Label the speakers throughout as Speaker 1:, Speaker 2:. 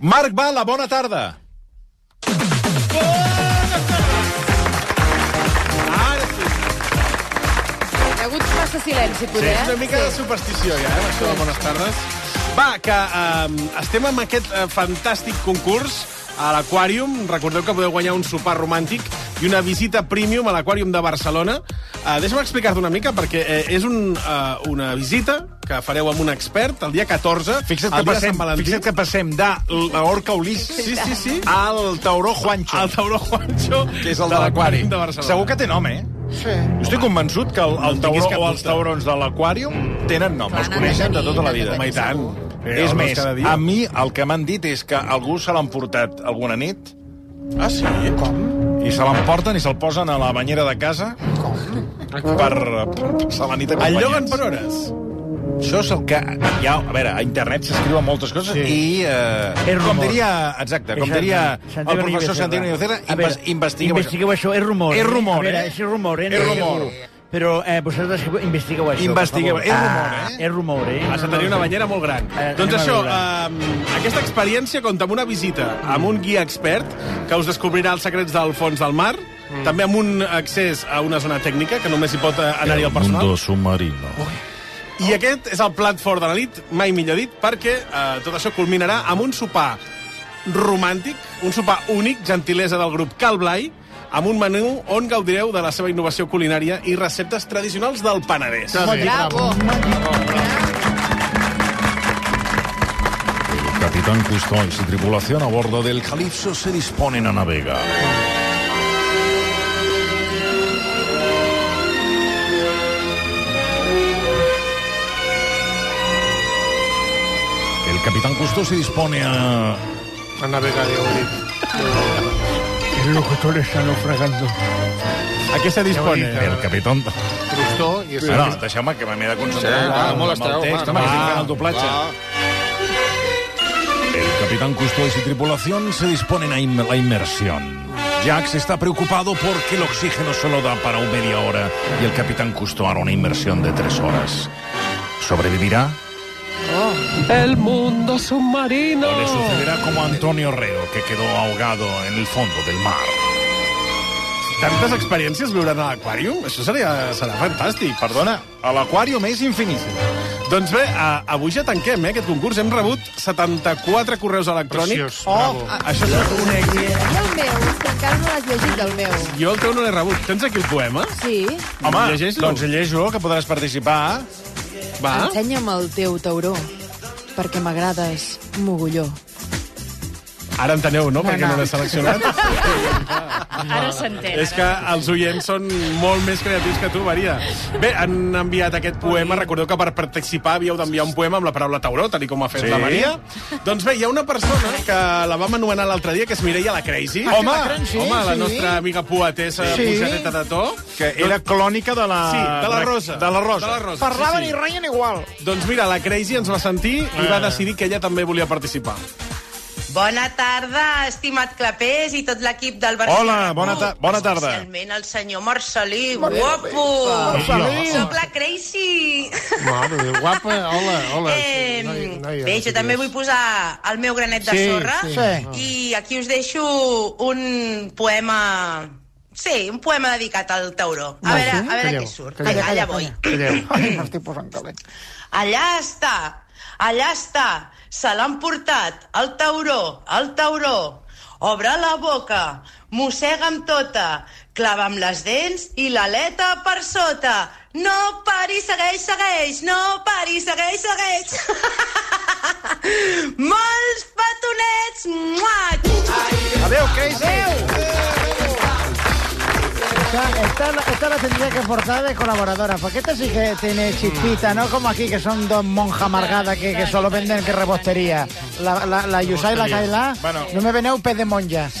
Speaker 1: Marc Bala, bona tarda. Ara sí.
Speaker 2: Hi ha hagut massa silenci,
Speaker 1: Sí,
Speaker 2: poder. eh?
Speaker 1: és una mica de superstició, ja, eh, amb això de bones tardes. Va, que eh, estem amb aquest eh, fantàstic concurs a l'Aquàrium. Recordeu que podeu guanyar un sopar romàntic i una visita premium a l'Aquàrium de Barcelona. Eh, Deixa'm explicar-te una mica, perquè eh, és un, eh, una visita que fareu amb un expert el dia 14,
Speaker 3: Fixa't que,
Speaker 1: el dia de
Speaker 3: passem,
Speaker 1: Sant Valentí.
Speaker 3: fixa't que passem de l'orca Ulís
Speaker 1: Sí, sí, sí.
Speaker 3: al tauró Juancho,
Speaker 1: El Tauró Juancho,
Speaker 3: que és el de l'aquari.
Speaker 1: De Barcelona.
Speaker 3: Segur que té nom, eh? Sí. Jo estic convençut que el, el
Speaker 1: tinguis
Speaker 3: tauró
Speaker 1: cap
Speaker 3: o els
Speaker 1: dubte.
Speaker 3: taurons de l'aquàrium tenen nom,
Speaker 2: Clar,
Speaker 3: els
Speaker 2: n'han de
Speaker 3: coneixen de
Speaker 2: tenir,
Speaker 3: tota la
Speaker 2: n'han de
Speaker 3: vida.
Speaker 1: Home, i tant. Eh,
Speaker 3: És
Speaker 1: el veus
Speaker 3: més,
Speaker 1: cada dia.
Speaker 3: a mi el que m'han dit és que algú se l'han portat alguna nit
Speaker 1: Ah, sí? Com?
Speaker 3: i se l'emporten i se'l posen a la banyera de casa per, per passar la nit
Speaker 1: El lloc
Speaker 3: acompanyats.
Speaker 1: en per hores.
Speaker 3: Això és el que... Hi ha, a veure, a internet s'escriuen moltes coses sí. i... Eh,
Speaker 4: És
Speaker 3: com
Speaker 4: rumor.
Speaker 3: diria... Exacte, com
Speaker 4: Exacte.
Speaker 3: diria el
Speaker 4: Santiago
Speaker 3: professor
Speaker 4: Nieve
Speaker 3: Santiago
Speaker 4: Serra.
Speaker 3: Niocera,
Speaker 4: A
Speaker 3: inves,
Speaker 4: veure,
Speaker 3: investigueu,
Speaker 4: investigueu això. És rumor.
Speaker 3: És rumor,
Speaker 4: A veure,
Speaker 3: eh?
Speaker 4: és rumor, eh?
Speaker 3: És rumor.
Speaker 4: Però eh, vosaltres investigueu això,
Speaker 3: Investigueu.
Speaker 4: per
Speaker 3: És
Speaker 4: favor.
Speaker 3: rumor,
Speaker 4: Ah,
Speaker 3: eh?
Speaker 4: És rumor, eh?
Speaker 1: Has de tenir una banyera molt gran.
Speaker 4: Eh, anem
Speaker 1: doncs
Speaker 4: a
Speaker 1: això, eh,
Speaker 4: veure.
Speaker 1: aquesta experiència compta amb una visita amb un guia expert que us descobrirà els secrets del fons del mar,
Speaker 4: Mm.
Speaker 1: també amb un accés a una zona tècnica, que només hi pot eh, anar-hi el personal.
Speaker 3: submarino.
Speaker 1: I aquest és el plat fort de la nit, mai millor dit, perquè eh, tot això culminarà amb un sopar romàntic, un sopar únic, gentilesa del grup Cal Blai, amb un menú on gaudireu de la seva innovació culinària i receptes tradicionals del Penedès.
Speaker 2: Bravo.
Speaker 5: Capitán Cousteau y su tripulación a bordo del Calipso se disponen a navegar. El capitán Cousteau se dispone a...
Speaker 6: A navegar, ja ho he dit.
Speaker 4: El locutor està naufragando.
Speaker 1: A què se dispone?
Speaker 5: El capitán...
Speaker 6: Crustó i... és-
Speaker 5: Ara,
Speaker 3: Deixeu-me que me m'he de concentrar.
Speaker 6: Sí, clar, molt
Speaker 3: amb el
Speaker 6: esteu, clar,
Speaker 3: text, home, que
Speaker 6: clar.
Speaker 3: estic fent el doblatge.
Speaker 6: Clar.
Speaker 5: El capitán Cousteau y su tripulación se disponen a in- la inmersión. Jax está preocupado porque el oxígeno solo da para un media hora y el capitán Cousteau hará una inmersión de tres horas. ¿Sobrevivirá?
Speaker 7: El mundo submarino.
Speaker 5: ¿O le sucederá como a Antonio Reo, que quedó ahogado en el fondo del mar?
Speaker 1: Tantes experiències viuran a l'aquàrium? Això seria, serà fantàstic.
Speaker 3: Perdona, a l'aquàrium és infinit.
Speaker 1: Doncs bé, a, avui ja tanquem eh, aquest concurs. Hem rebut 74 correus electrònics.
Speaker 6: Preciós,
Speaker 1: Oh,
Speaker 6: bravo.
Speaker 1: Això és un èxit.
Speaker 2: I el meu, és que encara no l'has llegit, el meu.
Speaker 1: Jo el teu no l'he rebut. Tens aquí el poema?
Speaker 2: Sí?
Speaker 3: Home,
Speaker 1: Llegeix-lo.
Speaker 3: doncs llegeix-lo, que podràs participar.
Speaker 1: Va.
Speaker 2: Ensenya'm el teu tauró, perquè m'agrades mogulló.
Speaker 1: Ara enteneu, no?, perquè no l'he seleccionat.
Speaker 8: Ara s'entén.
Speaker 1: És que els oients són molt més creatius que tu, Maria. Bé, han enviat aquest poema. Recordeu que per participar havíeu d'enviar un poema amb la paraula tauró, tal i com ha fet
Speaker 3: Sí.
Speaker 1: la Maria. Doncs bé, hi ha una persona que la vam anomenar l'altre dia, que és Mireia la
Speaker 3: Ah,
Speaker 1: Crazy. Home, home la nostra amiga poetessa sí. pujadeta de to.
Speaker 3: Que era clònica de la...
Speaker 1: Sí, de la Rosa.
Speaker 3: De la Rosa.
Speaker 1: De la Rosa. Parlaven sí, sí. i reien igual. Doncs mira, la Crazy ens va sentir
Speaker 3: Eh.
Speaker 1: i va decidir que ella també volia participar.
Speaker 9: Bona tarda, estimat Clapés i tot l'equip del Barcelona. Oh,
Speaker 3: Hola, bona ta- bona tarda.
Speaker 9: Especialment el senyor Marcelí, guapo.
Speaker 6: Marcelí.
Speaker 9: Soc la Crazy.
Speaker 6: Mare de Déu, guapa, hola, hola.
Speaker 9: Eh,
Speaker 6: Noia, noia,
Speaker 9: bé, jo també vull posar el meu granet de
Speaker 6: Sí,
Speaker 9: sorra.
Speaker 6: sí. Ah.
Speaker 9: I aquí us deixo un poema... Sí, un poema dedicat al tauró. A veure, a veure
Speaker 6: Calleu,
Speaker 9: què surt.
Speaker 6: calleu.
Speaker 9: Vinga, allà voy.
Speaker 6: Calleu.
Speaker 9: Allà està, allà està, se l'han portat, el tauró, el tauró. Obre la boca, mossega amb tota, clava amb les dents i l'aleta per sota. No pari, segueix, segueix, no pari, segueix, segueix. Molts petonets! Mua!
Speaker 3: Adéu, Casey.
Speaker 4: Esta, esta, esta la tendría que forzar de colaboradora, porque esta sí que tiene chispita, no como aquí, que son dos monjas amargadas que, que solo venden que rebostería. La, la, la Yusai y la Kaila,
Speaker 3: Bueno.
Speaker 4: no me veneu pez de monjas.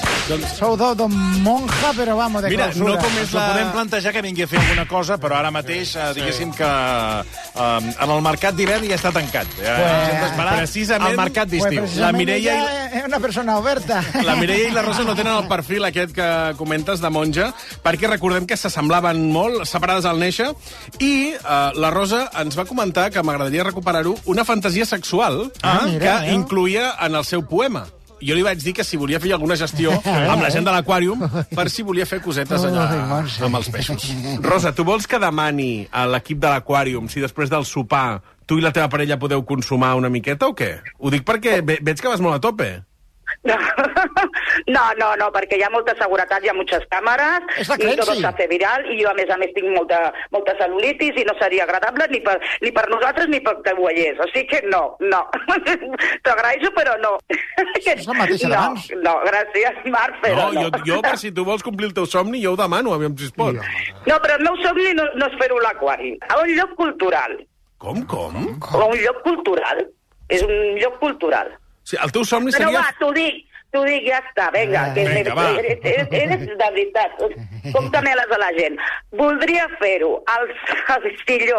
Speaker 4: Son dos, dos monjas, pero vamos, de
Speaker 1: Mira,
Speaker 4: clausura.
Speaker 1: no com és
Speaker 3: Ens la...
Speaker 1: la...
Speaker 3: podem plantejar que vingui a fer alguna cosa, però ara mateix, eh, diguéssim que eh, en el mercat d'hivern ja està tancat. Ja,
Speaker 4: Pues,
Speaker 3: hem d'esperar
Speaker 1: precisament-
Speaker 3: al mercat
Speaker 4: Pues
Speaker 3: d'estiu.
Speaker 1: la
Speaker 4: precisamente
Speaker 1: Mireia i-
Speaker 4: ella es una persona oberta.
Speaker 1: La Mireia i la Rosa no tenen el perfil aquest que comentes de monja, perquè recordem que s'assemblaven molt, separades al néixer, i eh, la Rosa ens va comentar que m'agradaria recuperar-ho, una fantasia sexual
Speaker 4: Ah,
Speaker 1: eh,
Speaker 4: mira,
Speaker 1: que
Speaker 4: eh?
Speaker 1: incluïa en el seu poema. jo li vaig dir que si volia fer alguna gestió amb la gent de l'aquàrium per si volia fer cosetes allà
Speaker 4: Eh? Ai, Montse.
Speaker 1: amb els peixos. Rosa, tu vols que demani a l'equip de l'aquàrium si després del sopar tu i la teva parella podeu consumar una miqueta o què? Ho dic perquè ve veig que vas molt a tope.
Speaker 10: No. no, no, no, perquè hi ha molta seguretat, hi ha moltes càmeres,
Speaker 4: És la
Speaker 10: i
Speaker 4: Clancy.
Speaker 10: tot s'ha fer viral, i jo, a més a més, tinc molta, molta cel·lulitis i no seria agradable ni per, ni per nosaltres ni per que ho veiés. O sigui que no, no. T'ho agraeixo, però no.
Speaker 4: És la mateixa
Speaker 10: no,
Speaker 4: d'abans.
Speaker 10: no, gràcies, Marc, però
Speaker 1: No,
Speaker 10: no.
Speaker 1: jo, jo per si tu vols complir el teu somni, jo ho demano, aviam si es pot.
Speaker 10: No, però el meu somni no, no és fer-ho a l'aquari. A un lloc cultural.
Speaker 1: Com, com?
Speaker 10: A un lloc cultural. És un lloc cultural.
Speaker 1: O sigui, el teu somni
Speaker 10: Però
Speaker 1: seria...
Speaker 10: va, t'ho dic, t'ho dic, ja està, vinga. que
Speaker 1: Vinga, va.
Speaker 10: eres, eres, eres de veritat, comptameles a la gent. Voldria fer-ho al, al silló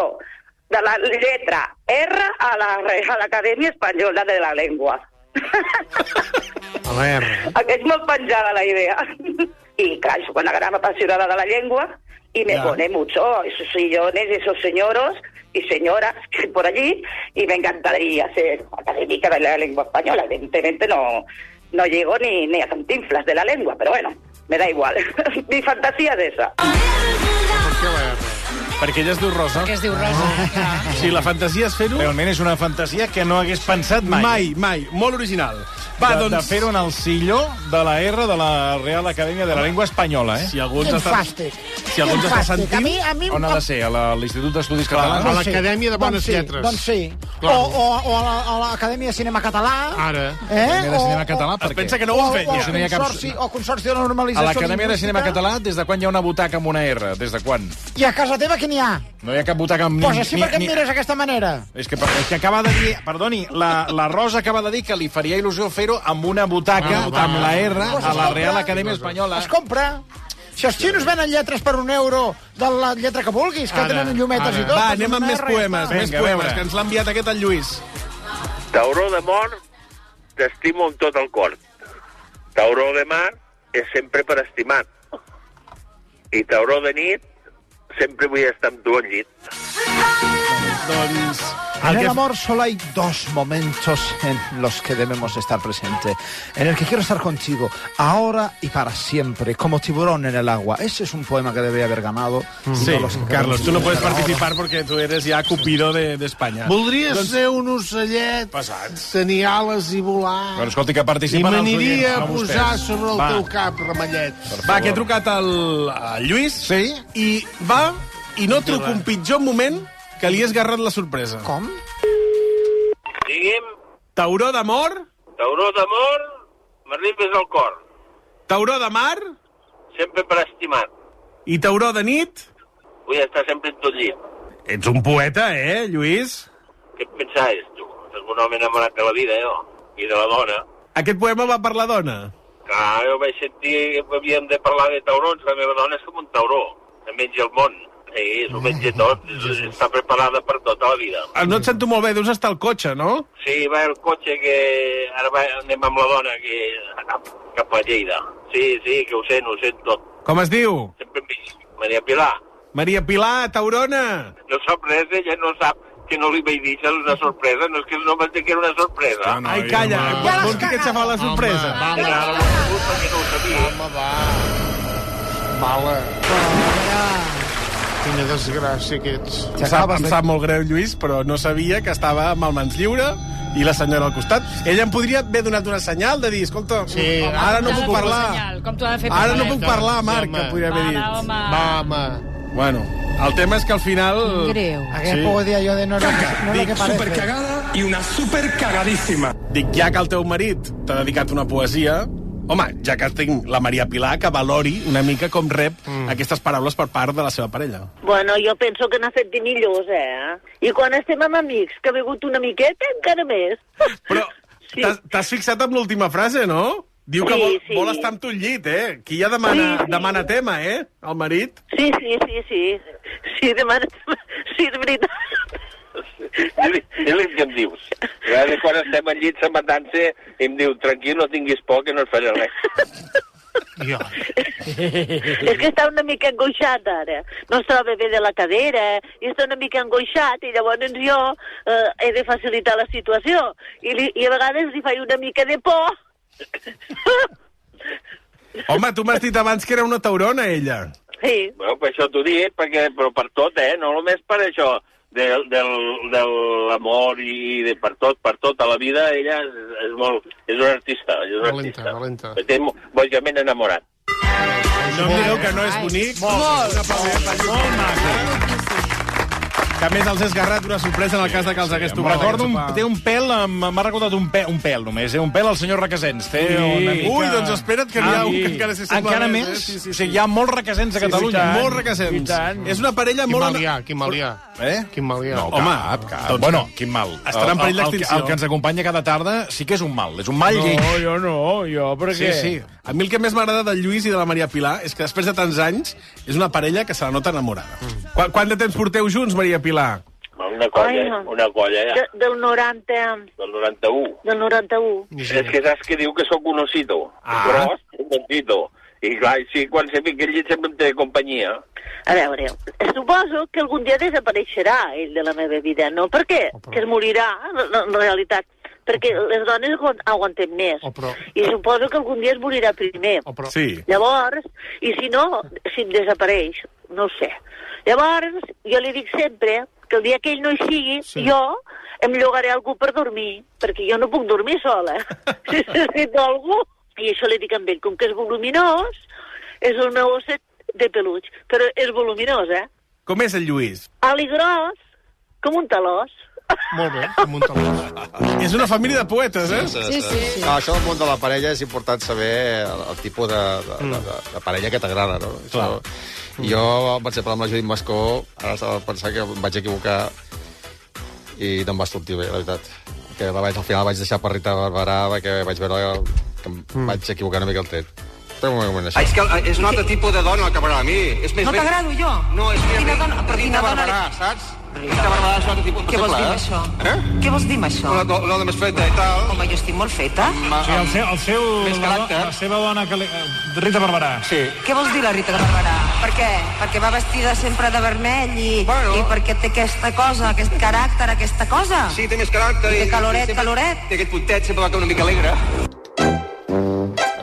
Speaker 10: de la lletra R a la a l'Acadèmia Espanyola de la Llengua.
Speaker 6: A la R.
Speaker 10: És molt penjada la idea. I, clar, soc una gran apassionada de la llengua y me pone mucho esos sillones, esos señoros y señoras que por allí y me encantaría ser académica de la lengua española. Evidentemente no, no llego ni, ni a cantinflas de la lengua, pero bueno, me da igual. Mi fantasía es esa.
Speaker 6: Per què la R?
Speaker 1: Perquè ella es diu Rosa.
Speaker 8: Que es diu Rosa. clar.
Speaker 1: Si la fantasia és fer-ho...
Speaker 3: Realment és una fantasia que no hagués pensat mai.
Speaker 1: Mai, mai. Molt original.
Speaker 3: Va,
Speaker 1: Va,
Speaker 3: de, doncs...
Speaker 1: doncs...
Speaker 3: de fer-ho en el silló de la R de la Real Acadèmia de la Llengua Espanyola, eh?
Speaker 1: Si algú ens
Speaker 4: Quin
Speaker 1: està...
Speaker 4: fàstic.
Speaker 1: Si algú ens
Speaker 4: Quin
Speaker 1: està
Speaker 4: fàstic. A
Speaker 1: sentint...
Speaker 4: mi, a mi...
Speaker 3: On ha de ser? A la- a l'Institut d'Estudis Catalans?
Speaker 6: A l'Acadèmia de Bones
Speaker 4: doncs sí,
Speaker 6: Lletres.
Speaker 4: Doncs sí.
Speaker 6: Clar.
Speaker 4: O, o, o a la- a l'Acadèmia de Cinema Català.
Speaker 6: Ara.
Speaker 4: Eh?
Speaker 3: Acadèmia de Cinema Català, per
Speaker 1: Es
Speaker 3: què?
Speaker 1: pensa que
Speaker 4: O,
Speaker 1: no
Speaker 4: o,
Speaker 1: ho han fet,
Speaker 4: o,
Speaker 3: Si no hi
Speaker 1: ja.
Speaker 3: ha cap-
Speaker 4: consorci, o Consorci de
Speaker 3: A
Speaker 4: Normalització
Speaker 3: l'Acadèmia de Cinema
Speaker 4: Lingüística.
Speaker 3: Català, des de quan hi ha una butaca amb una R? Des de quan?
Speaker 4: I a casa teva, quin hi ha?
Speaker 3: No hi ha cap butaca amb...
Speaker 4: Pues així, per què em mires d'aquesta manera?
Speaker 3: És que, és que acaba de dir... Perdoni, la, la Rosa acaba de dir que li faria il·lusió fer-ho amb una butaca,
Speaker 6: Ah, va.
Speaker 3: amb la R,
Speaker 4: Pues
Speaker 3: a la
Speaker 4: escolta,
Speaker 3: Real Acadèmia Espanyola.
Speaker 4: Es compra. Si els xinos venen lletres per un euro de la lletra que vulguis, que
Speaker 6: Ara,
Speaker 4: tenen llumetes
Speaker 6: ara.
Speaker 4: i tot... doncs
Speaker 1: Va,
Speaker 4: poses
Speaker 1: anem
Speaker 4: una
Speaker 1: amb més
Speaker 4: R i ja
Speaker 1: poemes,
Speaker 4: està.
Speaker 1: més
Speaker 3: Vinga, a
Speaker 1: poemes,
Speaker 3: veure.
Speaker 1: que ens l'ha enviat aquest el Lluís.
Speaker 11: Tauró d'amor, t'estimo amb tot el cor. Tauró de mar és sempre per estimar. I tauró de nit, sempre vull estar amb tu al llit.
Speaker 1: Doncs...
Speaker 4: En
Speaker 1: El
Speaker 4: el
Speaker 1: que...
Speaker 4: amor solo hay dos momentos en los que debemos estar presentes. En el que quiero estar contigo, ahora y para siempre, como tiburón en el agua. Ese es un poema que debería haber ganado. y
Speaker 1: Sí,
Speaker 4: no los que
Speaker 1: Carlos,
Speaker 4: queremos
Speaker 1: tu no puedes
Speaker 4: ahora.
Speaker 1: participar perquè tu eres ja Cupido de- d'Espanya. De,
Speaker 6: Voldria doncs... ser un ocellet,
Speaker 1: Pesats.
Speaker 6: tenir ales i
Speaker 3: Però
Speaker 6: volar...
Speaker 3: escolti, que
Speaker 6: I
Speaker 3: participen els
Speaker 6: m'aniria a
Speaker 3: oients, no
Speaker 6: posar
Speaker 3: vostès.
Speaker 6: sobre el
Speaker 3: Va.
Speaker 6: teu cap, ramellet.
Speaker 1: va, que he trucat al, al Lluís
Speaker 3: Sí?
Speaker 1: i va i no truco un pitjor moment que li he esgarrat la sorpresa.
Speaker 4: Com?
Speaker 11: Digui'm,
Speaker 1: Tauró d'amor,
Speaker 11: tauró d'amor, m'arribes al cor.
Speaker 1: tauró de mar
Speaker 11: Sempre per estimar.
Speaker 1: i tauró de nit.
Speaker 11: Vull estar sempre amb tu al llit.
Speaker 1: Ets un poeta, eh, Lluís?
Speaker 11: Què et pensaves, tu? Sóc un home enamorat de la vida, jo. I de la dona.
Speaker 1: Aquest poema va per la dona.
Speaker 11: Clar, jo vaig sentir que havíem de parlar de taurons. La meva dona és com un tauró. Se menja el món. Sí, s'ho menja tot.
Speaker 1: Mm,
Speaker 11: Està preparada per tota la vida.
Speaker 1: Ah, No et sento molt bé, deus estar al cotxe, no?
Speaker 11: Sí, va el cotxe que... Ara va, anem amb la dona que... cap, cap a Lleida. Sí, sí, que ho sent, ho sent tot.
Speaker 1: Com es diu?
Speaker 11: Sempre em dic, Maria Pilar,
Speaker 1: Maria Pilar, Taurona.
Speaker 11: no sap res, ella no sap que no li vaig dir que era una sorpresa, no és que no vaig dir que era una sorpresa.
Speaker 1: Ai, calla, vol, vols dir que et xafa la sorpresa?
Speaker 6: Home,
Speaker 11: Ara
Speaker 6: va,
Speaker 11: ho he sabut perquè no ho sabia.
Speaker 6: home, va. Mala. Quina desgràcia que ets.
Speaker 1: Em sap, em sap molt greu, Lluís, però no sabia que estava amb el mans lliure i la senyora al costat. Ella em podria haver donat una senyal de dir, escolta, sí,
Speaker 6: home,
Speaker 1: ara no
Speaker 8: T'ha de
Speaker 1: puc
Speaker 8: fer un
Speaker 1: parlar.
Speaker 8: senyal, Com t'ho ha de fer per
Speaker 1: Ara no
Speaker 8: saber.
Speaker 1: puc parlar, Marc,
Speaker 6: home.
Speaker 1: que podria
Speaker 8: Va,
Speaker 1: haver
Speaker 8: va,
Speaker 1: dit.
Speaker 8: home.
Speaker 6: Va, home.
Speaker 1: Bueno, el tema és que al final...
Speaker 2: Greu.
Speaker 4: Aquest poco día yo de no, era- no lo que parece.
Speaker 7: cagada y una super cagadísima.
Speaker 1: Dic, ja que el teu marit t'ha dedicat una poesia, home, ja que tinc la Maria Pilar, que valori una mica com rep mm. aquestes paraules per part de la seva parella.
Speaker 10: Bueno, jo penso que n'ha fet de millors, eh? I quan estem amb amics, que ha begut una miqueta, encara més.
Speaker 1: Però
Speaker 10: Sí.
Speaker 1: t'has- t'has fixat amb l'última frase, no? Diu que
Speaker 10: Sí,
Speaker 1: vol,
Speaker 10: sí.
Speaker 1: vol estar amb tu al llit, eh? Qui ja demana,
Speaker 10: Sí, sí.
Speaker 1: demana tema, eh? El marit.
Speaker 10: Sí, sí, sí, sí. Sí, demana... Sí, de veritat.
Speaker 11: I li, i li em dius. I ara quan estem al llit s'ematant-se, em diu, tranquil, no tinguis por, que no et faré res.
Speaker 6: Jo.
Speaker 10: És que està una mica angoixat ara. No es troba bé de la cadera i està una mica angoixat i llavors jo eh, he de facilitar la situació. I, li, I a vegades li faig una mica de por
Speaker 1: Home, tu m'has dit abans que era una taurona, ella.
Speaker 10: Sí.
Speaker 11: Bueno, per això t'ho dic, perquè, però per tot, eh? No només per això del, del, de l'amor i de per tot, per tota la vida, ella és, és molt... És un artista, és un
Speaker 6: Valenta,
Speaker 11: artista.
Speaker 6: valenta.
Speaker 11: Estic mo- bojament enamorat.
Speaker 1: No em digueu que no és bonic. Molt, molt, molt maco. Que a més els he esgarrat una sorpresa en el cas de que els hagués
Speaker 3: Em
Speaker 1: tocat.
Speaker 3: recordo, un,
Speaker 1: aquest sopar.
Speaker 3: té un pèl, em- m'ha recordat un pèl, un pèl només, eh? un pèl al senyor Requesens. Té
Speaker 1: Sí.
Speaker 3: una mica... Ah,
Speaker 1: Ui, doncs espera't, que n'hi ha un que
Speaker 3: sí.
Speaker 1: encara s'hi sembla
Speaker 3: Encara
Speaker 1: més, eh?
Speaker 3: més?
Speaker 1: Sí, sí,
Speaker 3: O sigui, hi ha molts Requesens a Catalunya.
Speaker 1: Molt requesens. És una parella
Speaker 6: Quin
Speaker 1: molt...
Speaker 6: mal hi ha, quin mal hi ha.
Speaker 3: Eh?
Speaker 6: Quin mal hi ha.
Speaker 3: No,
Speaker 1: Home,
Speaker 3: home, cap, cap.
Speaker 1: doncs-
Speaker 3: bueno, quin mal.
Speaker 1: Estarà en perill
Speaker 3: El- el- El,
Speaker 1: d'extinció.
Speaker 3: que- el, que ens acompanya cada tarda sí que és un mal. És un mal lleig.
Speaker 1: No,
Speaker 3: jo no, jo, per
Speaker 1: Sí, sí. A mi el que més m'agrada del Lluís i de la Maria Pilar és que després de tants anys és una parella que se la nota enamorada. Mm. Quant, quant de temps porteu junts, Maria Pilar?
Speaker 11: Una colla, eh? una colla, ja,
Speaker 12: De, del 90,
Speaker 11: del 91.
Speaker 12: del 91.
Speaker 11: És que saps que diu que sóc un osito, ah. gros, un montito. I clar, sí, quan se fica el llit sempre em té companyia.
Speaker 12: A veure, suposo que algun dia desapareixerà ell de la meva vida, no? Per què? Que es morirà, no, no, en realitat. Perquè les dones aguant- aguantem més.
Speaker 10: Oh,
Speaker 12: I suposo que algun dia es morirà primer.
Speaker 1: Sí.
Speaker 12: Llavors, i si no, si em desapareix, no ho sé. Llavors, jo li dic sempre que el dia que ell no hi sigui, sí. jo em llogaré a algú per dormir, perquè jo no puc dormir sola. si necessito algú. I això li dic amb ell, com que és voluminós, és el meu osset de peluig, però és voluminós, eh?
Speaker 1: Com és el Lluís?
Speaker 12: Ali gros, com un talòs.
Speaker 1: Molt bé, com un És una família de poetes, eh?
Speaker 12: Sí, sí, sí.
Speaker 13: No, això del món de la parella és important saber el, el tipus de, de, de, de, de parella que t'agrada, no? Això, jo, per exemple, amb la Judit Mascó, ara estava pensant que em vaig equivocar i no em va sortir bé, la veritat. Que la vaig, al final vaig deixar per Rita Barberà perquè vaig veure que em mm. vaig equivocar una mica el tet. Però un moment, això.
Speaker 14: Ah, és que eh, és un altre tipus de dona el que m'agrada a mi. És més
Speaker 8: No
Speaker 14: ben-
Speaker 8: t'agrado jo?
Speaker 14: No, és que
Speaker 8: Quina dona- però
Speaker 14: Rita
Speaker 8: quina dona-
Speaker 14: Barberà, saps? Rita Barberà és un altre tipus.
Speaker 8: Què vols dir amb
Speaker 14: eh?
Speaker 8: això?
Speaker 14: Eh?
Speaker 8: Què vols dir amb això?
Speaker 14: Una, do- una dona més feta i tal.
Speaker 8: Home, jo estic molt feta.
Speaker 14: Ma-
Speaker 15: Sí, el seu, el seu,
Speaker 14: Més
Speaker 15: la, do-
Speaker 14: caràcter.
Speaker 15: la seva dona, que li, eh, Rita Barberà.
Speaker 14: Sí.
Speaker 16: Què vols dir la Rita Barberà? Per què? Perquè va vestida sempre de vermell i, bueno. i perquè té aquesta cosa, aquest caràcter, aquesta cosa?
Speaker 14: Sí, té més caràcter.
Speaker 16: I té
Speaker 14: i-
Speaker 16: caloret,
Speaker 14: sempre-
Speaker 16: caloret.
Speaker 14: Té aquest puntet, sempre va com una mica alegre.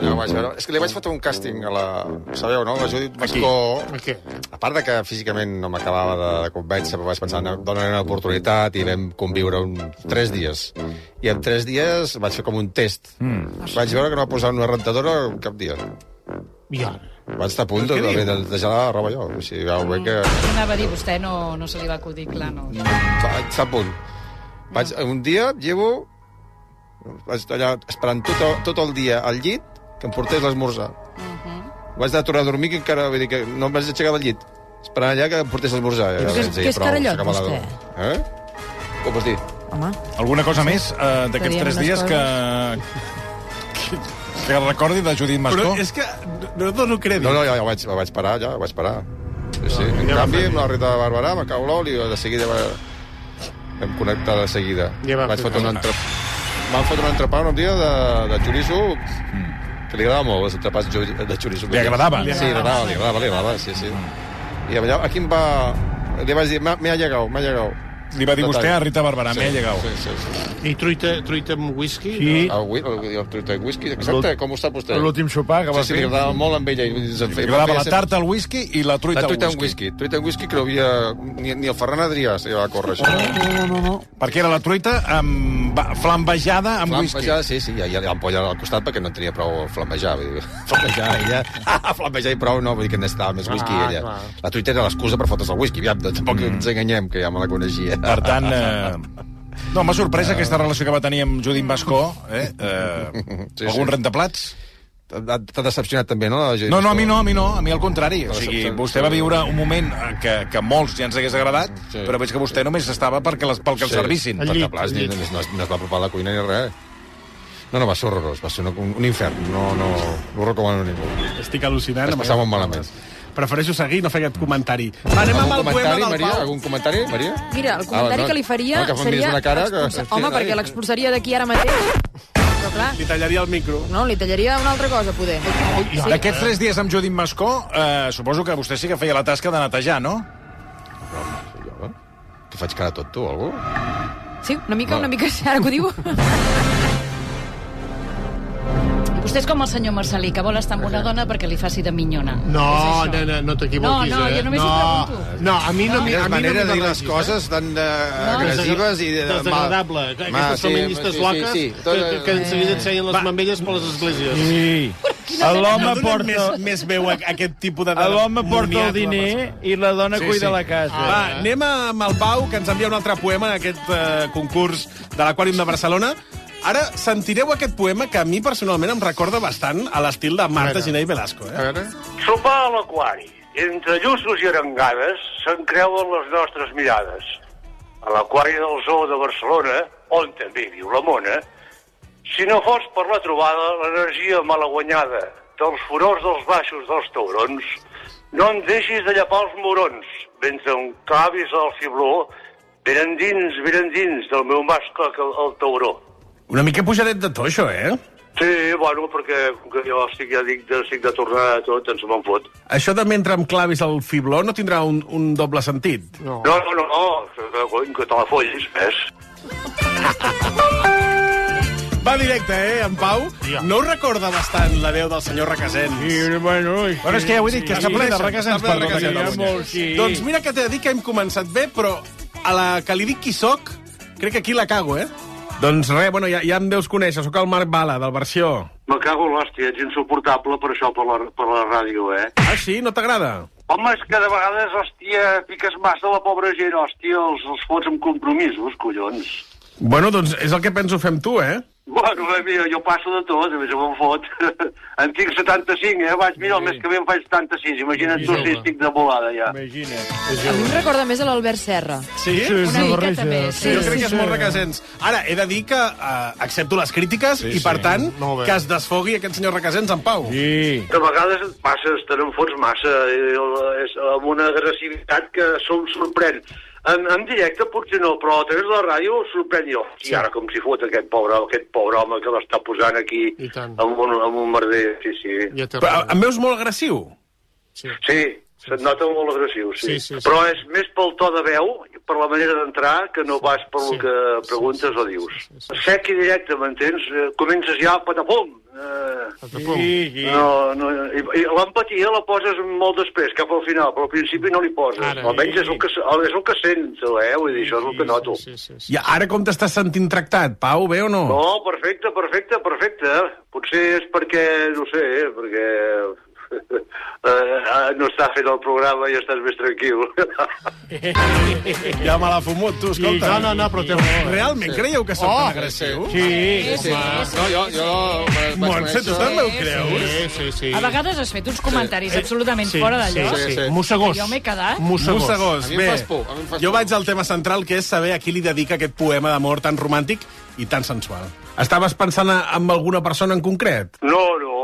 Speaker 13: Allò vaig veure. És que li vaig fotre un càsting a la... ho Sabeu, no? La Judit Mascó... Aquí. A part de que físicament no m'acabava de convèncer, però vaig pensar, donaré una oportunitat i vam conviure un... tres dies. I en tres dies vaig fer com un test.
Speaker 1: Hmm.
Speaker 13: Mm. Vaig veure que no posava una rentadora cap dia.
Speaker 6: Ja.
Speaker 13: Vaig estar a punt de, de, de, deixar la roba jo. O sigui, vau bé que...
Speaker 17: Què anava a dir? Vostè no, no se li va acudir, clar, no.
Speaker 13: Vaig a punt. Vaig,
Speaker 2: Mm.
Speaker 13: un dia llevo... Vaig allà esperant tot, el- tot el dia al llit que em portés l'esmorzar. Uh
Speaker 2: Mm-hmm.
Speaker 13: -huh. Vaig anar a tornar a dormir que encara... Vull dir que no em vaig aixecar del llit. Esperant allà que em portés l'esmorzar.
Speaker 2: Però que- que és carallot, vostè.
Speaker 13: Eh? Com pots dir?
Speaker 2: Home,
Speaker 3: Alguna cosa més eh,
Speaker 2: Te
Speaker 3: d'aquests
Speaker 2: diem
Speaker 3: tres
Speaker 2: unes
Speaker 3: dies que... que... que recordi de Judit
Speaker 13: Però
Speaker 3: Mascó?
Speaker 1: és que no dono crèdit.
Speaker 13: No, no, ja, ja vaig, ja vaig parar, ja, vaig parar. Sí, sí. En canvi, amb la Rita de Barberà, me cau l'oli, de seguida va... vam connectar de seguida.
Speaker 6: Ja va
Speaker 13: vaig
Speaker 6: fer
Speaker 13: fotre un
Speaker 6: cas.
Speaker 13: entrepà. Vam fotre un entrepà un dia de, de xoriço que li agradava molt, els entrepats ju- de xoriço.
Speaker 3: Li agradava?
Speaker 13: Sí, li agradava, li agradava, li agradava, sí, sí. I allà, aquí em va... Li vaig dir, "M'ha- m'he allegat, m'he allegat.
Speaker 3: Li va dir vostè a Rita Barberà,
Speaker 13: Sí,
Speaker 3: m'he allegat.
Speaker 13: Sí, sí, sí.
Speaker 6: I truita, truita amb whisky?
Speaker 13: Sí.
Speaker 6: No?
Speaker 13: El, Ah, wi- el, el truita de whisky, exacte, com ho sap vostè?
Speaker 6: L'últim sopar
Speaker 13: sí, sí, li agradava molt amb ella. I, ens en
Speaker 3: Li
Speaker 13: feia-
Speaker 3: agradava la
Speaker 13: feia
Speaker 3: tarta al whisky i la truita
Speaker 13: la truita
Speaker 3: al
Speaker 13: amb
Speaker 3: whisky.
Speaker 13: whisky. Truita amb whisky que no havia... Ni, ni el Ferran Adrià se va córrer, això.
Speaker 3: No, no, no. Perquè era la truita amb... ba- flambejada amb whisky.
Speaker 13: Flambejada, sí, sí, ja, ja l'ampolla al costat perquè no en tenia prou a flambejar. Vull dir, flambejar ella... Ah, flambejar i prou, no, vull dir que necessitava més whisky
Speaker 3: Ah,
Speaker 13: ella.
Speaker 3: clar.
Speaker 13: La truita era l'excusa per fotre's el whisky, aviam, doncs, tampoc mm. ens enganyem, que ja me la coneixia.
Speaker 3: Per tant, eh, No, m'ha sorprès
Speaker 13: Ah.
Speaker 3: aquesta relació que va tenir amb Judit Mascó. Eh? Eh, sí, algun sí. rentaplats?
Speaker 13: T'ha t'ha decepcionat també, no? la Judit
Speaker 3: No, no, a mi
Speaker 13: Mascó?
Speaker 3: no, a mi no, a mi al contrari. O
Speaker 13: T'ha
Speaker 3: sigui,
Speaker 13: decepcionat.
Speaker 3: vostè va viure un moment eh, que, que a molts ja ens hagués agradat, sí. però veig que vostè només estava perquè les, pel que el servissin.
Speaker 13: Al llit, al llit. No, es- no es va apropar a la cuina ni res. No, no, va ser horrorós, va ser un, un infern. No, no, no ho recomano a ningú.
Speaker 1: Estic al·lucinant.
Speaker 13: Es
Speaker 1: amb
Speaker 13: passava molt
Speaker 1: aquestes
Speaker 13: malament.
Speaker 1: coses. Prefereixo seguir i no fer aquest comentari. Va, anem amb
Speaker 13: Algun
Speaker 1: el poema
Speaker 13: comentari,
Speaker 1: del
Speaker 13: Maria?
Speaker 1: Pau.
Speaker 13: Algun comentari, Maria?
Speaker 2: Mira, el comentari
Speaker 13: Ah, no,
Speaker 2: que li faria
Speaker 13: no, que fa- mires
Speaker 2: seria...
Speaker 13: una cara que-
Speaker 2: expulsar- Home, perquè l'expulsaria d'aquí ara mateix. Però clar,
Speaker 1: Li tallaria el micro.
Speaker 2: no, li tallaria una altra cosa, poder.
Speaker 3: Sí. D'aquests tres dies amb Judit Mascó, eh, suposo que vostè sí que feia la tasca de netejar, no?
Speaker 13: T'ho faig cara tot, tu, algú?
Speaker 2: Sí, una mica, una mica, sí, ara que ho diu.
Speaker 17: Vostè és com el senyor Marcelí, que vol estar amb una dona perquè li faci de minyona.
Speaker 6: No, no, no, no t'equivoquis,
Speaker 17: No, no,
Speaker 6: eh?
Speaker 17: jo només ho pregunto.
Speaker 6: No, a mi no, m'hi- a mi
Speaker 13: Quina
Speaker 6: no m'hi
Speaker 13: manera de dir les
Speaker 6: barregis,
Speaker 13: coses tan de...
Speaker 6: No.
Speaker 13: agressives i... De...
Speaker 6: Desagradable.
Speaker 13: Ma-
Speaker 6: Aquestes
Speaker 13: ma, sí,
Speaker 6: feministes
Speaker 13: sí, sí,
Speaker 6: loques
Speaker 13: sí.
Speaker 6: que, que- que en seguida et seien les mamelles per les esglésies. Sí.
Speaker 1: no donen Més, més veu a aquest tipus de...
Speaker 18: L'home porta el
Speaker 1: momiacle,
Speaker 18: diner i la dona
Speaker 1: Sí,
Speaker 18: cuida
Speaker 1: sí.
Speaker 18: la casa.
Speaker 6: Ah,
Speaker 1: Va,
Speaker 6: eh?
Speaker 1: anem amb el Pau, que ens envia un altre poema en aquest eh, concurs de l'Aquàrium de Barcelona. Ara sentireu aquest poema que a mi personalment em recorda bastant a l'estil de Marta Giné i Velasco. Eh? A veure.
Speaker 19: Sopar a l'aquari. Entre lluços i arengades se'n creuen les nostres mirades. A l'aquari del Zoo de Barcelona, on també viu la mona, si no fos per la trobada, l'energia malaguanyada dels furors dels baixos dels taurons, no em deixis de llapar els morons, mentre un cavis al fibló, ben endins, ben endins del meu mascle el, el tauró.
Speaker 1: Una mica pujadet de to, això, eh?
Speaker 19: Sí, bueno, perquè com que jo estic, ja dic, de- estic de tornar a tot, ens me'n fot.
Speaker 1: Això de mentre em clavis el fibló no tindrà un, un doble sentit.
Speaker 19: No, no, no, eh, no cony, que te la follis, ves.
Speaker 1: Va directe, eh, en Pau? Yeah. No us recorda bastant la veu del senyor Requesens? Sí, bueno... Sí,
Speaker 3: Bueno, és que ja ho he dit, que està ple de Requesens per tota Catalunya.
Speaker 1: Doncs mira que t'he de dir que hem començat bé, però a la que li dic qui sóc, crec que aquí la cago, eh? Doncs res, bueno, ja, ja em deus conèixer, sóc el Marc Bala, del Versió.
Speaker 19: Me cago en l'hòstia, ets insuportable per això, per la, per la ràdio, eh?
Speaker 1: Ah, sí? No t'agrada?
Speaker 19: Home, és que de vegades, hòstia, piques massa la pobra gent, hòstia, els, els fots amb compromisos, collons.
Speaker 1: Bueno, doncs és el que penso fer amb tu, eh?
Speaker 19: Bueno, bé, mira, jo passo de tot, a més me'n fot. en tinc 75, eh? Vaig, mira, el mes que ve en faig 76, imagina't tu si estic de volada, ja.
Speaker 2: A mi
Speaker 19: Imagina't.
Speaker 2: em recorda més a l'Albert Serra.
Speaker 1: Sí?
Speaker 2: Una miqueta més, sí.
Speaker 1: Jo crec que és
Speaker 2: Sí,
Speaker 1: molt
Speaker 2: sí.
Speaker 1: Requesens. Ara, he de dir que eh, accepto les crítiques sí, i, per tant,
Speaker 19: Molt bé.
Speaker 1: que es desfogui aquest senyor Requesens en pau. Sí.
Speaker 19: De vegades et passes, te n'enfots massa, eh, el- és amb una agressivitat que som sorprèn. En, en directe potser no, però a través de la ràdio sorprèn jo. Sí. I ara com si fot aquest pobre, aquest pobre home que l'està posant aquí amb un, amb un merder. Sí, sí. Ja
Speaker 1: Però eh, em veus molt agressiu?
Speaker 19: sí. sí, se't nota molt agressiu, sí. Sí, sí, sí. Però és més pel to de veu, per la manera d'entrar, que no vas pel sí. que preguntes o dius. Sec i directe, m'entens? Eh, Comences ja patapum, Eh,
Speaker 6: Sí, sí.
Speaker 19: no, no, i, i l'empatia la poses molt després, cap al final, però al principi no li poses. Ara, Almenys és el, que, s- és el que sento, eh? Vull dir, això és el que noto. Sí, sí, sí.
Speaker 1: I ara com t'estàs sentint tractat, Pau, bé o no?
Speaker 19: No, perfecte, perfecte, perfecte. Potser és perquè, no ho sé, eh, perquè eh, no està fent el programa i estàs més tranquil.
Speaker 1: Ja me l'ha fumut, tu, escolta.
Speaker 6: No, no, no, però té raó. eh.
Speaker 1: Realment creieu que sóc
Speaker 6: Oh,
Speaker 1: tan agressiu?
Speaker 6: sí, sí, sí.
Speaker 13: No, jo... jo vaig
Speaker 1: Montse, tu
Speaker 13: conèixer-
Speaker 1: també ho
Speaker 13: Sí,
Speaker 1: creus?
Speaker 6: Sí, sí, sí.
Speaker 17: A vegades has fet uns comentaris
Speaker 1: Sí. Eh,
Speaker 17: absolutament
Speaker 1: Sí,
Speaker 17: fora de
Speaker 1: sí,
Speaker 17: lloc.
Speaker 1: sí, sí.
Speaker 17: que
Speaker 1: Mossegós.
Speaker 17: Jo m'he quedat...
Speaker 1: Mossegós.
Speaker 13: A mi em
Speaker 1: Bé,
Speaker 13: fas por, a mi em fas
Speaker 1: jo
Speaker 13: por.
Speaker 1: vaig al tema central, que és saber a qui li dedica aquest poema d'amor tan romàntic i tan sensual. Estaves pensant en alguna persona en concret?
Speaker 19: No, no,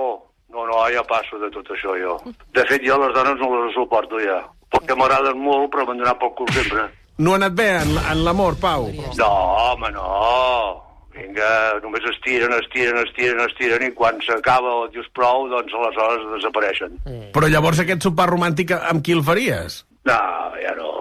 Speaker 19: no, no, ja passo de tot això, jo. De fet, jo les dones no les suporto, ja. Perquè m'agraden molt, però m'han donat pel cul sempre.
Speaker 1: No ha anat bé en, en l'amor, Pau?
Speaker 19: No, home, no. Vinga, només estiren, estiren, estiren, estiren, i quan s'acaba o dius prou, doncs aleshores desapareixen.
Speaker 1: Però llavors aquest sopar romàntic amb qui el faries?
Speaker 19: No, ja no.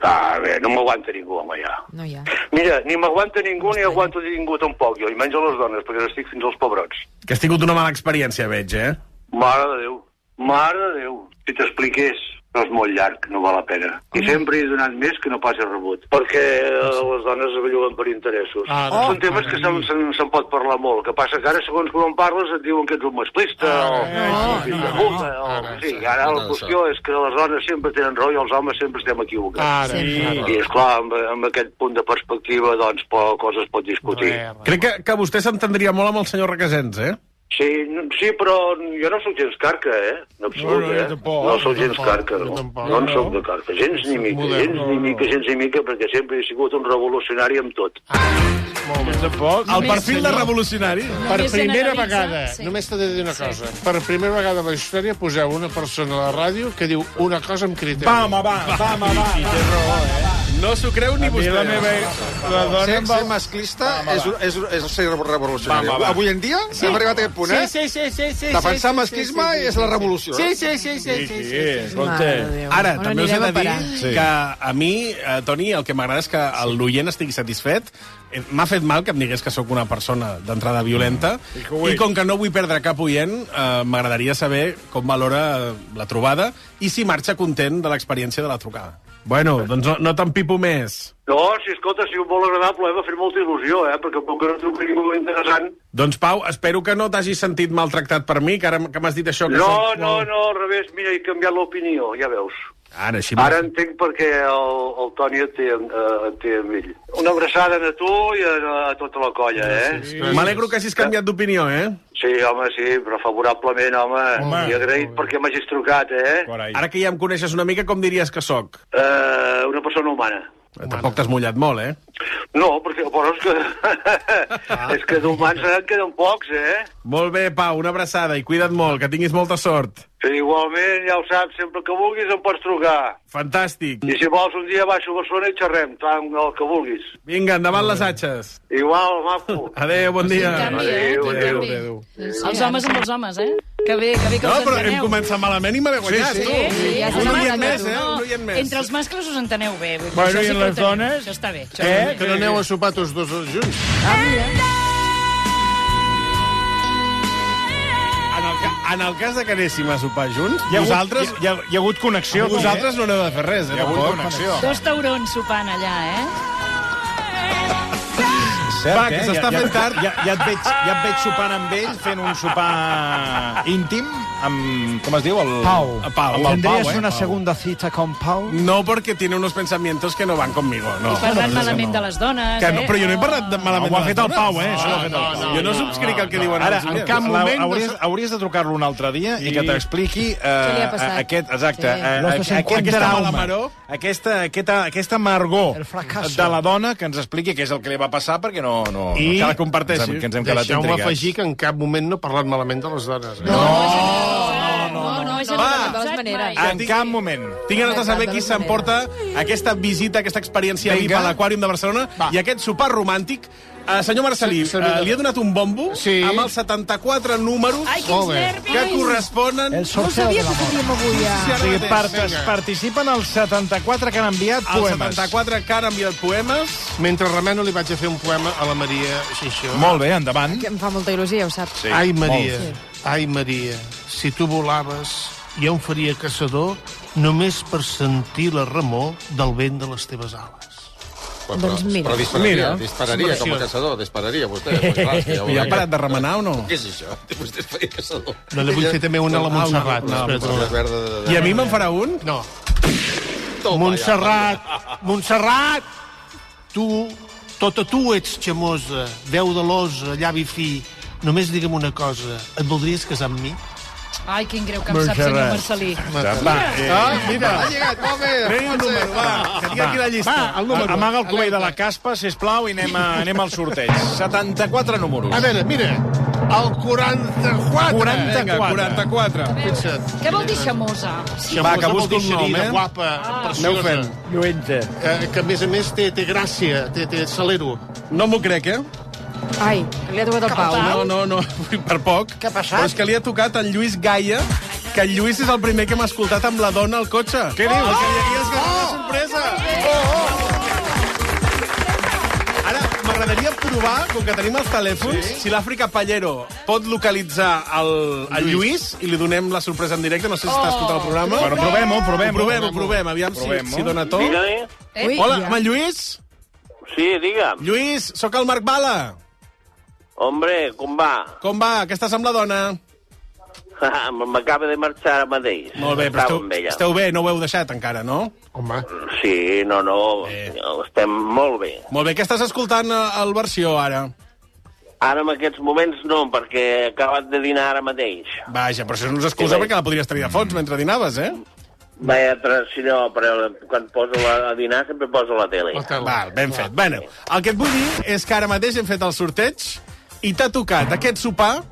Speaker 19: Ah, bé, no m'aguanta ningú, home, ja.
Speaker 2: No hi ha.
Speaker 19: Mira, ni m'aguanta ningú ni aguanto ningú tampoc, jo, i menys a les dones, perquè estic fins als pebrots.
Speaker 1: Que has tingut una mala experiència, veig, eh?
Speaker 19: Mare de Déu, mare de Déu. Si t'expliqués, però és molt llarg, no val la pena. I sempre he donat més que no pas he rebut, perquè eh, les dones es belluguen per interessos.
Speaker 6: Ah,
Speaker 19: Són temes que se'n se, se pot parlar molt, que passa que ara, segons com en parles, et diuen que ets un masclista, o un fill de puta, o... Sí, ara la qüestió és que les dones sempre tenen raó i els homes sempre estem equivocats.
Speaker 6: Ara, sí.
Speaker 19: I, esclar, amb, amb aquest punt de perspectiva, doncs, po, coses pot discutir.
Speaker 1: Crec que, que vostè s'entendria molt amb el senyor Requesens, eh?
Speaker 19: Sí, no- sí, però jo no sóc gens carca, eh? En absolut,
Speaker 1: No, no, jo
Speaker 19: eh?
Speaker 1: tampoc,
Speaker 19: no sóc
Speaker 1: jo
Speaker 19: gens
Speaker 1: tampoc,
Speaker 19: carca,
Speaker 1: jo
Speaker 19: no.
Speaker 1: tampoc.
Speaker 19: No en
Speaker 1: No,
Speaker 19: sóc de carca, gens ni mica, gens ni mica, gens ni mica, perquè sempre he sigut un revolucionari amb tot.
Speaker 1: El perfil de revolucionari.
Speaker 6: Per
Speaker 1: Només
Speaker 6: primera
Speaker 1: generalitza,
Speaker 6: vegada,
Speaker 1: sí.
Speaker 6: només t'he de dir una cosa, per primera vegada a la història poseu una persona a la ràdio que diu una cosa amb criteri.
Speaker 1: Vam, va, va, va, va, va, va, va, va, va, No s'ho creu ni vostè.
Speaker 13: la meva-
Speaker 1: la
Speaker 13: dona ser, ser masclista és, un- és, un- és ser revolucionari.
Speaker 1: Va, va, va.
Speaker 13: Avui en dia
Speaker 1: Sí.
Speaker 13: sí. hem arribat a aquest punt, eh?
Speaker 1: Sí, sí, sí, sí, sí,
Speaker 13: Defensar
Speaker 1: sí, sí,
Speaker 13: masclisme
Speaker 1: sí, sí, sí,
Speaker 13: és la revolució.
Speaker 1: sí,
Speaker 13: eh?
Speaker 1: sí, sí, sí, sí, sí, sí, sí.
Speaker 13: Escolta. Mare de Déu.
Speaker 1: Ara,
Speaker 13: On
Speaker 1: també us he
Speaker 13: anirem
Speaker 1: de
Speaker 13: a
Speaker 1: dir
Speaker 13: parar?
Speaker 1: sí. que a mi, eh, Toni, el que m'agrada és que el l'oient estigui satisfet. Eh, M'ha fet mal que em digués que sóc una persona d'entrada violenta
Speaker 3: I que ho
Speaker 1: i
Speaker 3: ets.
Speaker 1: com que no vull perdre cap oient, eh, m'agradaria saber com valora eh, la trobada i si marxa content de l'experiència de la trucada. Bueno, doncs no, no t'empipo més.
Speaker 19: No, si escolta, ha sigut molt agradable, eh? m'ha fet molta il·lusió, eh? perquè com que no truca ningú interessant...
Speaker 1: Doncs, Pau, espero que no t'hagis sentit maltractat per mi, que ara m- que m'has dit això... Que
Speaker 19: No,
Speaker 1: sóc-
Speaker 19: no, no, al revés, mira, he canviat l'opinió, ja veus.
Speaker 1: Ara, així
Speaker 19: Ara entenc per què el, el Toni et té, amb- eh, et té amb ell. Una abraçada a tu i a, a tota la colla, eh?
Speaker 1: M'alegro que hagis canviat d'opinió, eh?
Speaker 19: Sí, home, sí, però favorablement, home. home I agraït perquè m'hagis trucat, eh? Carai.
Speaker 1: Ara que ja em coneixes una mica, com diries que sóc?
Speaker 19: Eh, una persona humana.
Speaker 1: Eh, Tampoc t'has mullat molt, eh?
Speaker 19: No, perquè però és que...
Speaker 1: Ah.
Speaker 19: és que d'humans en queden pocs, eh?
Speaker 1: Molt bé, Pau, una abraçada i cuida't molt, que tinguis molta sort.
Speaker 19: Igualment, ja ho saps, sempre que vulguis em pots trucar.
Speaker 1: Fantàstic.
Speaker 19: I si vols, un dia baixo a Barcelona i xerrem, tant el que vulguis.
Speaker 1: Vinga, endavant les atxes.
Speaker 19: Igual, maco.
Speaker 1: Adéu, bon dia.
Speaker 17: Quin canvi, eh?
Speaker 1: Adéu,
Speaker 17: Quin
Speaker 1: adéu,
Speaker 17: canvi.
Speaker 1: adéu.
Speaker 17: Els homes amb els homes, eh? Que bé, que bé que
Speaker 1: No,
Speaker 17: us
Speaker 1: però
Speaker 17: enteneu.
Speaker 1: hem començat malament i me n'he guanyat,
Speaker 17: sí,
Speaker 1: tu.
Speaker 17: sí, sí, ja
Speaker 1: Un
Speaker 17: s'ha
Speaker 1: oient
Speaker 17: amagat,
Speaker 1: més, eh?
Speaker 17: no.
Speaker 1: Un oient més.
Speaker 17: Entre els mascles us enteneu bé. vull dir,
Speaker 6: Bueno,
Speaker 17: això
Speaker 6: i en
Speaker 17: sí que ho
Speaker 6: les
Speaker 17: teniu.
Speaker 6: dones?
Speaker 17: Això està bé. Això
Speaker 6: Eh?
Speaker 17: està bé. Ah,
Speaker 6: Que no aneu a sopar tots dos junts.
Speaker 1: En el, ca- en el cas de que anéssim a sopar junts,
Speaker 3: Hi ha hagut-
Speaker 1: vosaltres...
Speaker 3: hi ha- hi ha hagut connexió,
Speaker 1: Vosaltres
Speaker 3: eh?
Speaker 1: no aneu a fer res, eh?
Speaker 3: Hi ha hagut
Speaker 1: tampoc.
Speaker 3: connexió.
Speaker 17: Dos taurons sopant allà, eh?
Speaker 1: eh? Va, que s'està
Speaker 3: eh? ja,
Speaker 1: fent tard.
Speaker 3: Ja, ja, et veig, ja et veig sopant amb ell, fent un sopar íntim amb... Com es diu? El...
Speaker 4: Pau.
Speaker 3: A Pau. Amb el
Speaker 4: ¿Tendrías
Speaker 3: Pau, eh?
Speaker 4: una segunda cita con Pau?
Speaker 1: No, perquè tiene unos pensamientos que no van conmigo. No.
Speaker 17: I parlant
Speaker 1: No, no,
Speaker 17: malament
Speaker 1: no.
Speaker 17: de les dones,
Speaker 1: Que no,
Speaker 17: eh?
Speaker 1: però jo no he parlat de malament
Speaker 3: No, ho ha
Speaker 1: de les
Speaker 3: fet el
Speaker 1: dones.
Speaker 3: Pau, eh? Això ho ha fet el Pau.
Speaker 1: Jo no subscric el que diuen
Speaker 3: Ara,
Speaker 1: els
Speaker 3: en
Speaker 1: oients.
Speaker 3: cap moment...
Speaker 1: La-
Speaker 3: Hauries, hauries de trucar-lo un altre dia i que t'expliqui... eh,
Speaker 1: li ha passat?
Speaker 3: Aquest, exacte.
Speaker 1: Sí.
Speaker 3: eh,
Speaker 1: No se
Speaker 3: aqu-
Speaker 1: sent
Speaker 3: aquest-
Speaker 1: trauma.
Speaker 3: aquesta amaror, aquesta, aquesta, aquesta amargor de la dona que ens expliqui què és el que li va passar perquè no... no
Speaker 6: I
Speaker 3: que la comparteixi. Que ens hem quedat
Speaker 6: Deixeu-me
Speaker 3: intrigats.
Speaker 6: afegir que en cap moment no he parlat malament de les dones. Eh?
Speaker 17: No, no, això
Speaker 1: Va.
Speaker 17: no de totes maneres.
Speaker 1: En cap moment. Tinc ganes de saber qui s'emporta
Speaker 6: tota
Speaker 1: aquesta visita, aquesta experiència VIP
Speaker 6: Vinga.
Speaker 1: a l'Aquàrium de Barcelona i aquest sopar romàntic. Uh, senyor Marcelí,
Speaker 6: Sí,
Speaker 1: uh,
Speaker 6: senyor.
Speaker 1: li he donat un bombo sí. amb els 74 números
Speaker 6: Ai, quins Molt bé. nervis.
Speaker 1: que corresponen...
Speaker 6: El sorteo No sabia de la que mort. faríem avui, ja.
Speaker 1: Sí,
Speaker 3: O sigui,
Speaker 1: eh? ara
Speaker 3: part,
Speaker 1: mateix. Vinga.
Speaker 3: participen els 74 que han enviat
Speaker 6: Els
Speaker 3: poemes.
Speaker 1: 74 que han enviat poemes.
Speaker 6: Mentre remeno li vaig a fer un poema a la Maria Xinxó.
Speaker 3: Molt bé, endavant.
Speaker 2: Que em fa molta il·lusió, ja ho saps.
Speaker 6: Sí, ai, Maria, ai, Maria, si tu volaves, jo em faria caçador només per sentir la remor del vent de les teves ales.
Speaker 13: Però,
Speaker 2: Doncs
Speaker 13: però, però dispararia, Doncs mira. dispararia com a caçador, dispararia vostè. eh? Pues, clar, és que
Speaker 1: I ha
Speaker 13: veurà
Speaker 1: parat de remenar o no?
Speaker 13: que- Què és això? Vostè és per caçador.
Speaker 6: No, li vull fer també una a la Montserrat.
Speaker 13: Ah, una-
Speaker 6: Espera't,
Speaker 13: una
Speaker 6: una.
Speaker 13: verda de- de-
Speaker 1: I a mi me'n farà un?
Speaker 6: No. Montserrat, Montserrat, tu, tota tu ets xamosa, veu de l'osa, llavi fi. Només digue'm una cosa, et voldries casar amb mi?
Speaker 17: Ai, quin greu que em sap, senyor
Speaker 6: Montserrat.
Speaker 17: Marcelí.
Speaker 6: Va, eh,
Speaker 3: Ah, mira.
Speaker 6: Ha llegat, molt bé.
Speaker 3: Treu el número, va. Que digui aquí la llista.
Speaker 6: Va, el número.
Speaker 3: Amaga el cubell de
Speaker 6: Alerta.
Speaker 3: la caspa, sisplau, i anem, a, anem al sorteig. 74 números.
Speaker 6: A veure, mira, el 44.
Speaker 3: 44.
Speaker 6: Vinga,
Speaker 1: 44.
Speaker 6: Fixa't.
Speaker 17: Què vol dir xamosa? Ah.
Speaker 6: Xamosa vol dir xerida,
Speaker 3: eh?
Speaker 1: eh?
Speaker 6: guapa,
Speaker 1: Ah.
Speaker 6: preciosa.
Speaker 1: Lluenta.
Speaker 6: Eh, que a més a més té, té gràcia, té, té salero.
Speaker 1: No m'ho crec, eh?
Speaker 2: Ai, que li ha tocat el Pau.
Speaker 1: No, no, no, per poc. Què ha
Speaker 2: passat?
Speaker 1: Però és que li ha tocat en Lluís Gaia, que en Lluís és el primer que hem escoltat amb la dona al cotxe. Què dius? El que hi havies ganat la sorpresa. Ara, m'agradaria provar, com que tenim els telèfons, si l'Àfrica Pallero pot localitzar el, el Lluís i li donem la sorpresa en directe. No sé si està escoltant el programa.
Speaker 3: Bueno, provem-ho, provem-ho.
Speaker 1: Ho provem, ho provem. Aviam
Speaker 3: Provem-ho.
Speaker 1: si, si dona tot.
Speaker 11: Digue-li.
Speaker 17: Eh?
Speaker 1: Hola,
Speaker 17: Ja.
Speaker 1: amb en Lluís?
Speaker 11: Sí, digue'm.
Speaker 1: Lluís, sóc el Marc Bala.
Speaker 11: Hombre, com va?
Speaker 1: Com va? Què estàs amb la dona?
Speaker 11: M'acaba de marxar ara mateix.
Speaker 1: Molt bé, però
Speaker 11: Estava
Speaker 1: esteu,
Speaker 11: amb ella.
Speaker 1: esteu bé, no ho heu deixat encara, no?
Speaker 6: Home.
Speaker 11: Sí, no, no, eh. estem molt bé.
Speaker 1: Molt bé, què estàs escoltant eh, el versió ara?
Speaker 11: Ara, en aquests moments, no, perquè he acabat de dinar ara mateix.
Speaker 1: Vaja, però això no és excusa
Speaker 11: Sí, bé.
Speaker 1: perquè la podries tenir de fons mentre dinaves, eh?
Speaker 11: Vaja, tra- si no, però quan poso la, a dinar sempre poso la tele.
Speaker 1: Val, ben fet. Bueno, el que et vull dir és que ara mateix hem fet el sorteig i t'ha tocat aquest sopar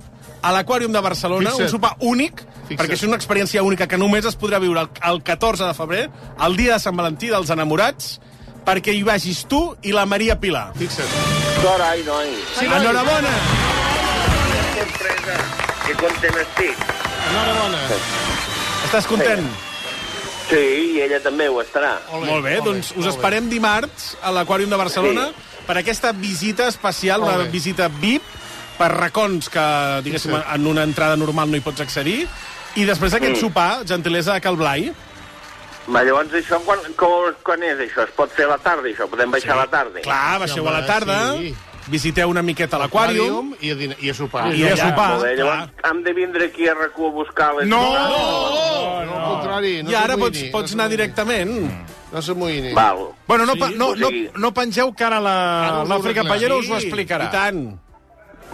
Speaker 1: a l'Aquàrium de Barcelona,
Speaker 6: Fixa't.
Speaker 1: un sopar únic, perquè és una experiència única que només es podrà viure el, el 14 de febrer, el dia de Sant Valentí dels enamorats, perquè hi vagis tu i la Maria Pilar. Fixa't.
Speaker 11: Carai, noi.
Speaker 1: Sí, noi. Enhorabona.
Speaker 11: Sorpresa. Que content estic.
Speaker 1: Enhorabona. Estàs content?
Speaker 11: Sí, i ella també ho estarà.
Speaker 1: Olé, molt bé, olé, doncs us olé. esperem dimarts a l'Aquàrium de Barcelona sí. per aquesta visita especial, olé. una visita VIP per racons que, diguéssim, sí. en una entrada normal no hi pots accedir. I després d'aquest
Speaker 11: Mm.
Speaker 1: mm. sopar, gentilesa de Cal Blai,
Speaker 11: Ma, llavors, això quan, quan, quan és, això? Es pot fer a la tarda, això? Podem baixar sí. a la tarda?
Speaker 1: clar, baixeu a la tarda, sí. visiteu una miqueta l'Aquàrium...
Speaker 6: I a, dinar, i a sopar.
Speaker 1: I a sopar,
Speaker 11: Molt bé,
Speaker 1: clar.
Speaker 11: llavors, hem de vindre aquí a rac a buscar les...
Speaker 6: No!
Speaker 1: No!
Speaker 6: No, al contrari. No
Speaker 1: I ara
Speaker 6: s'amoïni,
Speaker 1: pots, pots anar directament.
Speaker 6: No s'amoïni.
Speaker 11: Val.
Speaker 3: Bueno, no, pa- no,
Speaker 11: o
Speaker 3: no,
Speaker 11: sigui-
Speaker 3: no pengeu que ara la-
Speaker 1: Ara us ho
Speaker 3: l'Àfrica
Speaker 1: arreglem.
Speaker 3: Pallera us ho
Speaker 1: Sí,
Speaker 3: explicarà.
Speaker 1: i tant.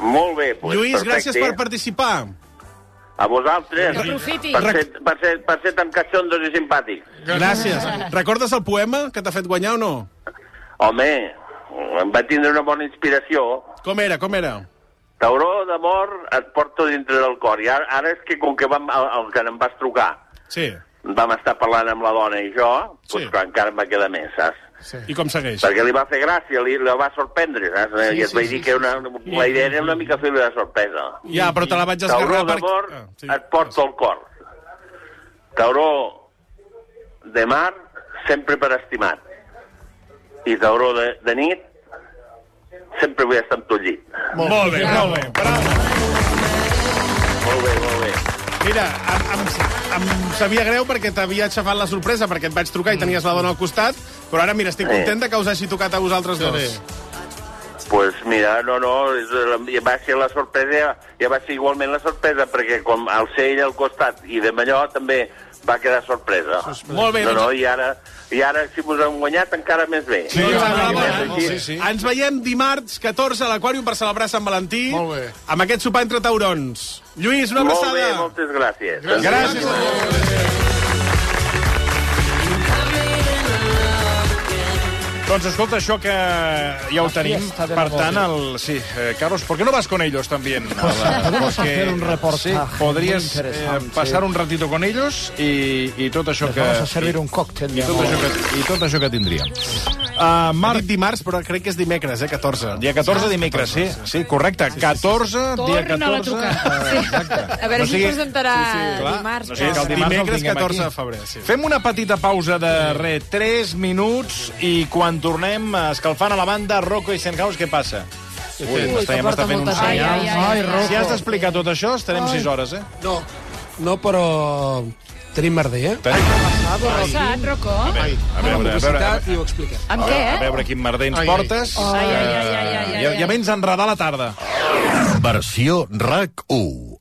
Speaker 11: Molt bé, doncs,
Speaker 1: Lluís,
Speaker 11: perfecte.
Speaker 1: gràcies per participar.
Speaker 11: A vosaltres.
Speaker 1: Que aprofiti.
Speaker 11: Per ser, per ser, per ser tan cachondos i simpàtics.
Speaker 1: Gràcies. Recordes el poema que t'ha fet guanyar o no?
Speaker 11: Home, em va tindre una bona inspiració.
Speaker 1: Com era, com era?
Speaker 11: Tauró d'amor et porto dintre del cor. I ara, ara és que com que vam, el, el que em vas trucar,
Speaker 1: Sí.
Speaker 11: vam estar parlant amb la dona i jo, doncs
Speaker 1: Sí.
Speaker 11: clar, encara em va quedar més, saps?
Speaker 1: sí. I com segueix?
Speaker 11: Perquè li va fer gràcia, li, li va sorprendre, saps?
Speaker 1: Sí,
Speaker 11: Sí, I et
Speaker 1: sí,
Speaker 11: vaig
Speaker 1: sí,
Speaker 11: dir que una, la idea era una mica fer-li la sorpresa.
Speaker 1: Ja, però te la vaig
Speaker 11: Tauró
Speaker 1: esgarrar perquè... Ah,
Speaker 11: d'amor sí. et porta al cor. Tauró de mar, sempre per estimat. I tauró de, de nit, sempre vull estar amb tu al llit.
Speaker 1: Molt, molt bé, molt bé.
Speaker 11: Molt bé, molt bé.
Speaker 1: Mira, em, em, em sabia greu perquè t'havia aixafat la sorpresa, perquè et vaig trucar i tenies la dona al costat, però ara, mira, estic
Speaker 11: Sí.
Speaker 1: contenta que us hagi tocat a vosaltres dos.
Speaker 11: Pues mira, no, no, és la- ja va ser la sorpresa, ja- ja va ser igualment la sorpresa, perquè com al ser ell al costat i de Malló també va quedar sorpresa.
Speaker 1: Molt bé,
Speaker 11: No,
Speaker 1: doncs-
Speaker 11: no, i ara, i ara si vos hem guanyat encara més bé.
Speaker 1: Sí, doncs, enhorabona.
Speaker 11: Així-
Speaker 1: sí, sí. Ens veiem dimarts 14 a l'Aquàrium per celebrar Sant Valentí Molt bé. amb aquest sopar entre taurons. Lluís, una
Speaker 11: Molt bé,
Speaker 1: abraçada.
Speaker 11: moltes gràcies.
Speaker 1: Gràcies.
Speaker 3: Doncs escolta, això que ja ho tenim.
Speaker 4: fiesta de la
Speaker 3: Per tant,
Speaker 4: boda.
Speaker 3: el... Sí, eh, Carlos, ¿por qué no vas con ellos también? a la-
Speaker 4: podemos hacer un reportaje
Speaker 3: Sí,
Speaker 4: muy
Speaker 3: podries eh,
Speaker 4: interesante.
Speaker 3: passar un ratito con ellos i, i tot això
Speaker 4: Les
Speaker 3: que...
Speaker 4: vamos a servir un còctel
Speaker 3: I
Speaker 4: de
Speaker 3: tot
Speaker 4: amor.
Speaker 3: això que, i tot això que tindríem.
Speaker 1: Uh, Marc... dimarts, però crec que és dimecres, eh, 14.
Speaker 3: Dia 14 dimecres, sí, sí, correcte. 14, dia
Speaker 1: Torna la
Speaker 3: 14...
Speaker 18: A veure
Speaker 3: No
Speaker 18: si
Speaker 3: sigui-
Speaker 18: presentarà
Speaker 3: Sí, clar.
Speaker 18: dimarts.
Speaker 3: No sigui que el dimarts no el
Speaker 1: Dimecres
Speaker 3: tinguem
Speaker 1: 14
Speaker 3: aquí.
Speaker 1: de febrer, sí.
Speaker 3: Fem una petita pausa de re, 3 minuts, i quan tornem, escalfant a la banda, Rocco i Senhaus, què passa? Ui, m'està ja m'està fent un senyal. si has d'explicar tot això, estarem
Speaker 20: Ai.
Speaker 3: 6 hores, eh?
Speaker 20: No, no, però tenim merder, eh?
Speaker 17: Què ha passat, Rocco?
Speaker 3: A veure, a veure, a veure,
Speaker 20: I ho expliquem.
Speaker 17: Amb què,
Speaker 3: a
Speaker 17: eh?
Speaker 3: veure quin merder ens
Speaker 20: Ai, ai.
Speaker 3: portes.
Speaker 17: Ai, ai, ai, ai, ai,
Speaker 3: Eh,
Speaker 17: ai,
Speaker 3: ja,
Speaker 17: ai.
Speaker 3: ja vens a enredar la tarda.
Speaker 21: Versió RAC 1.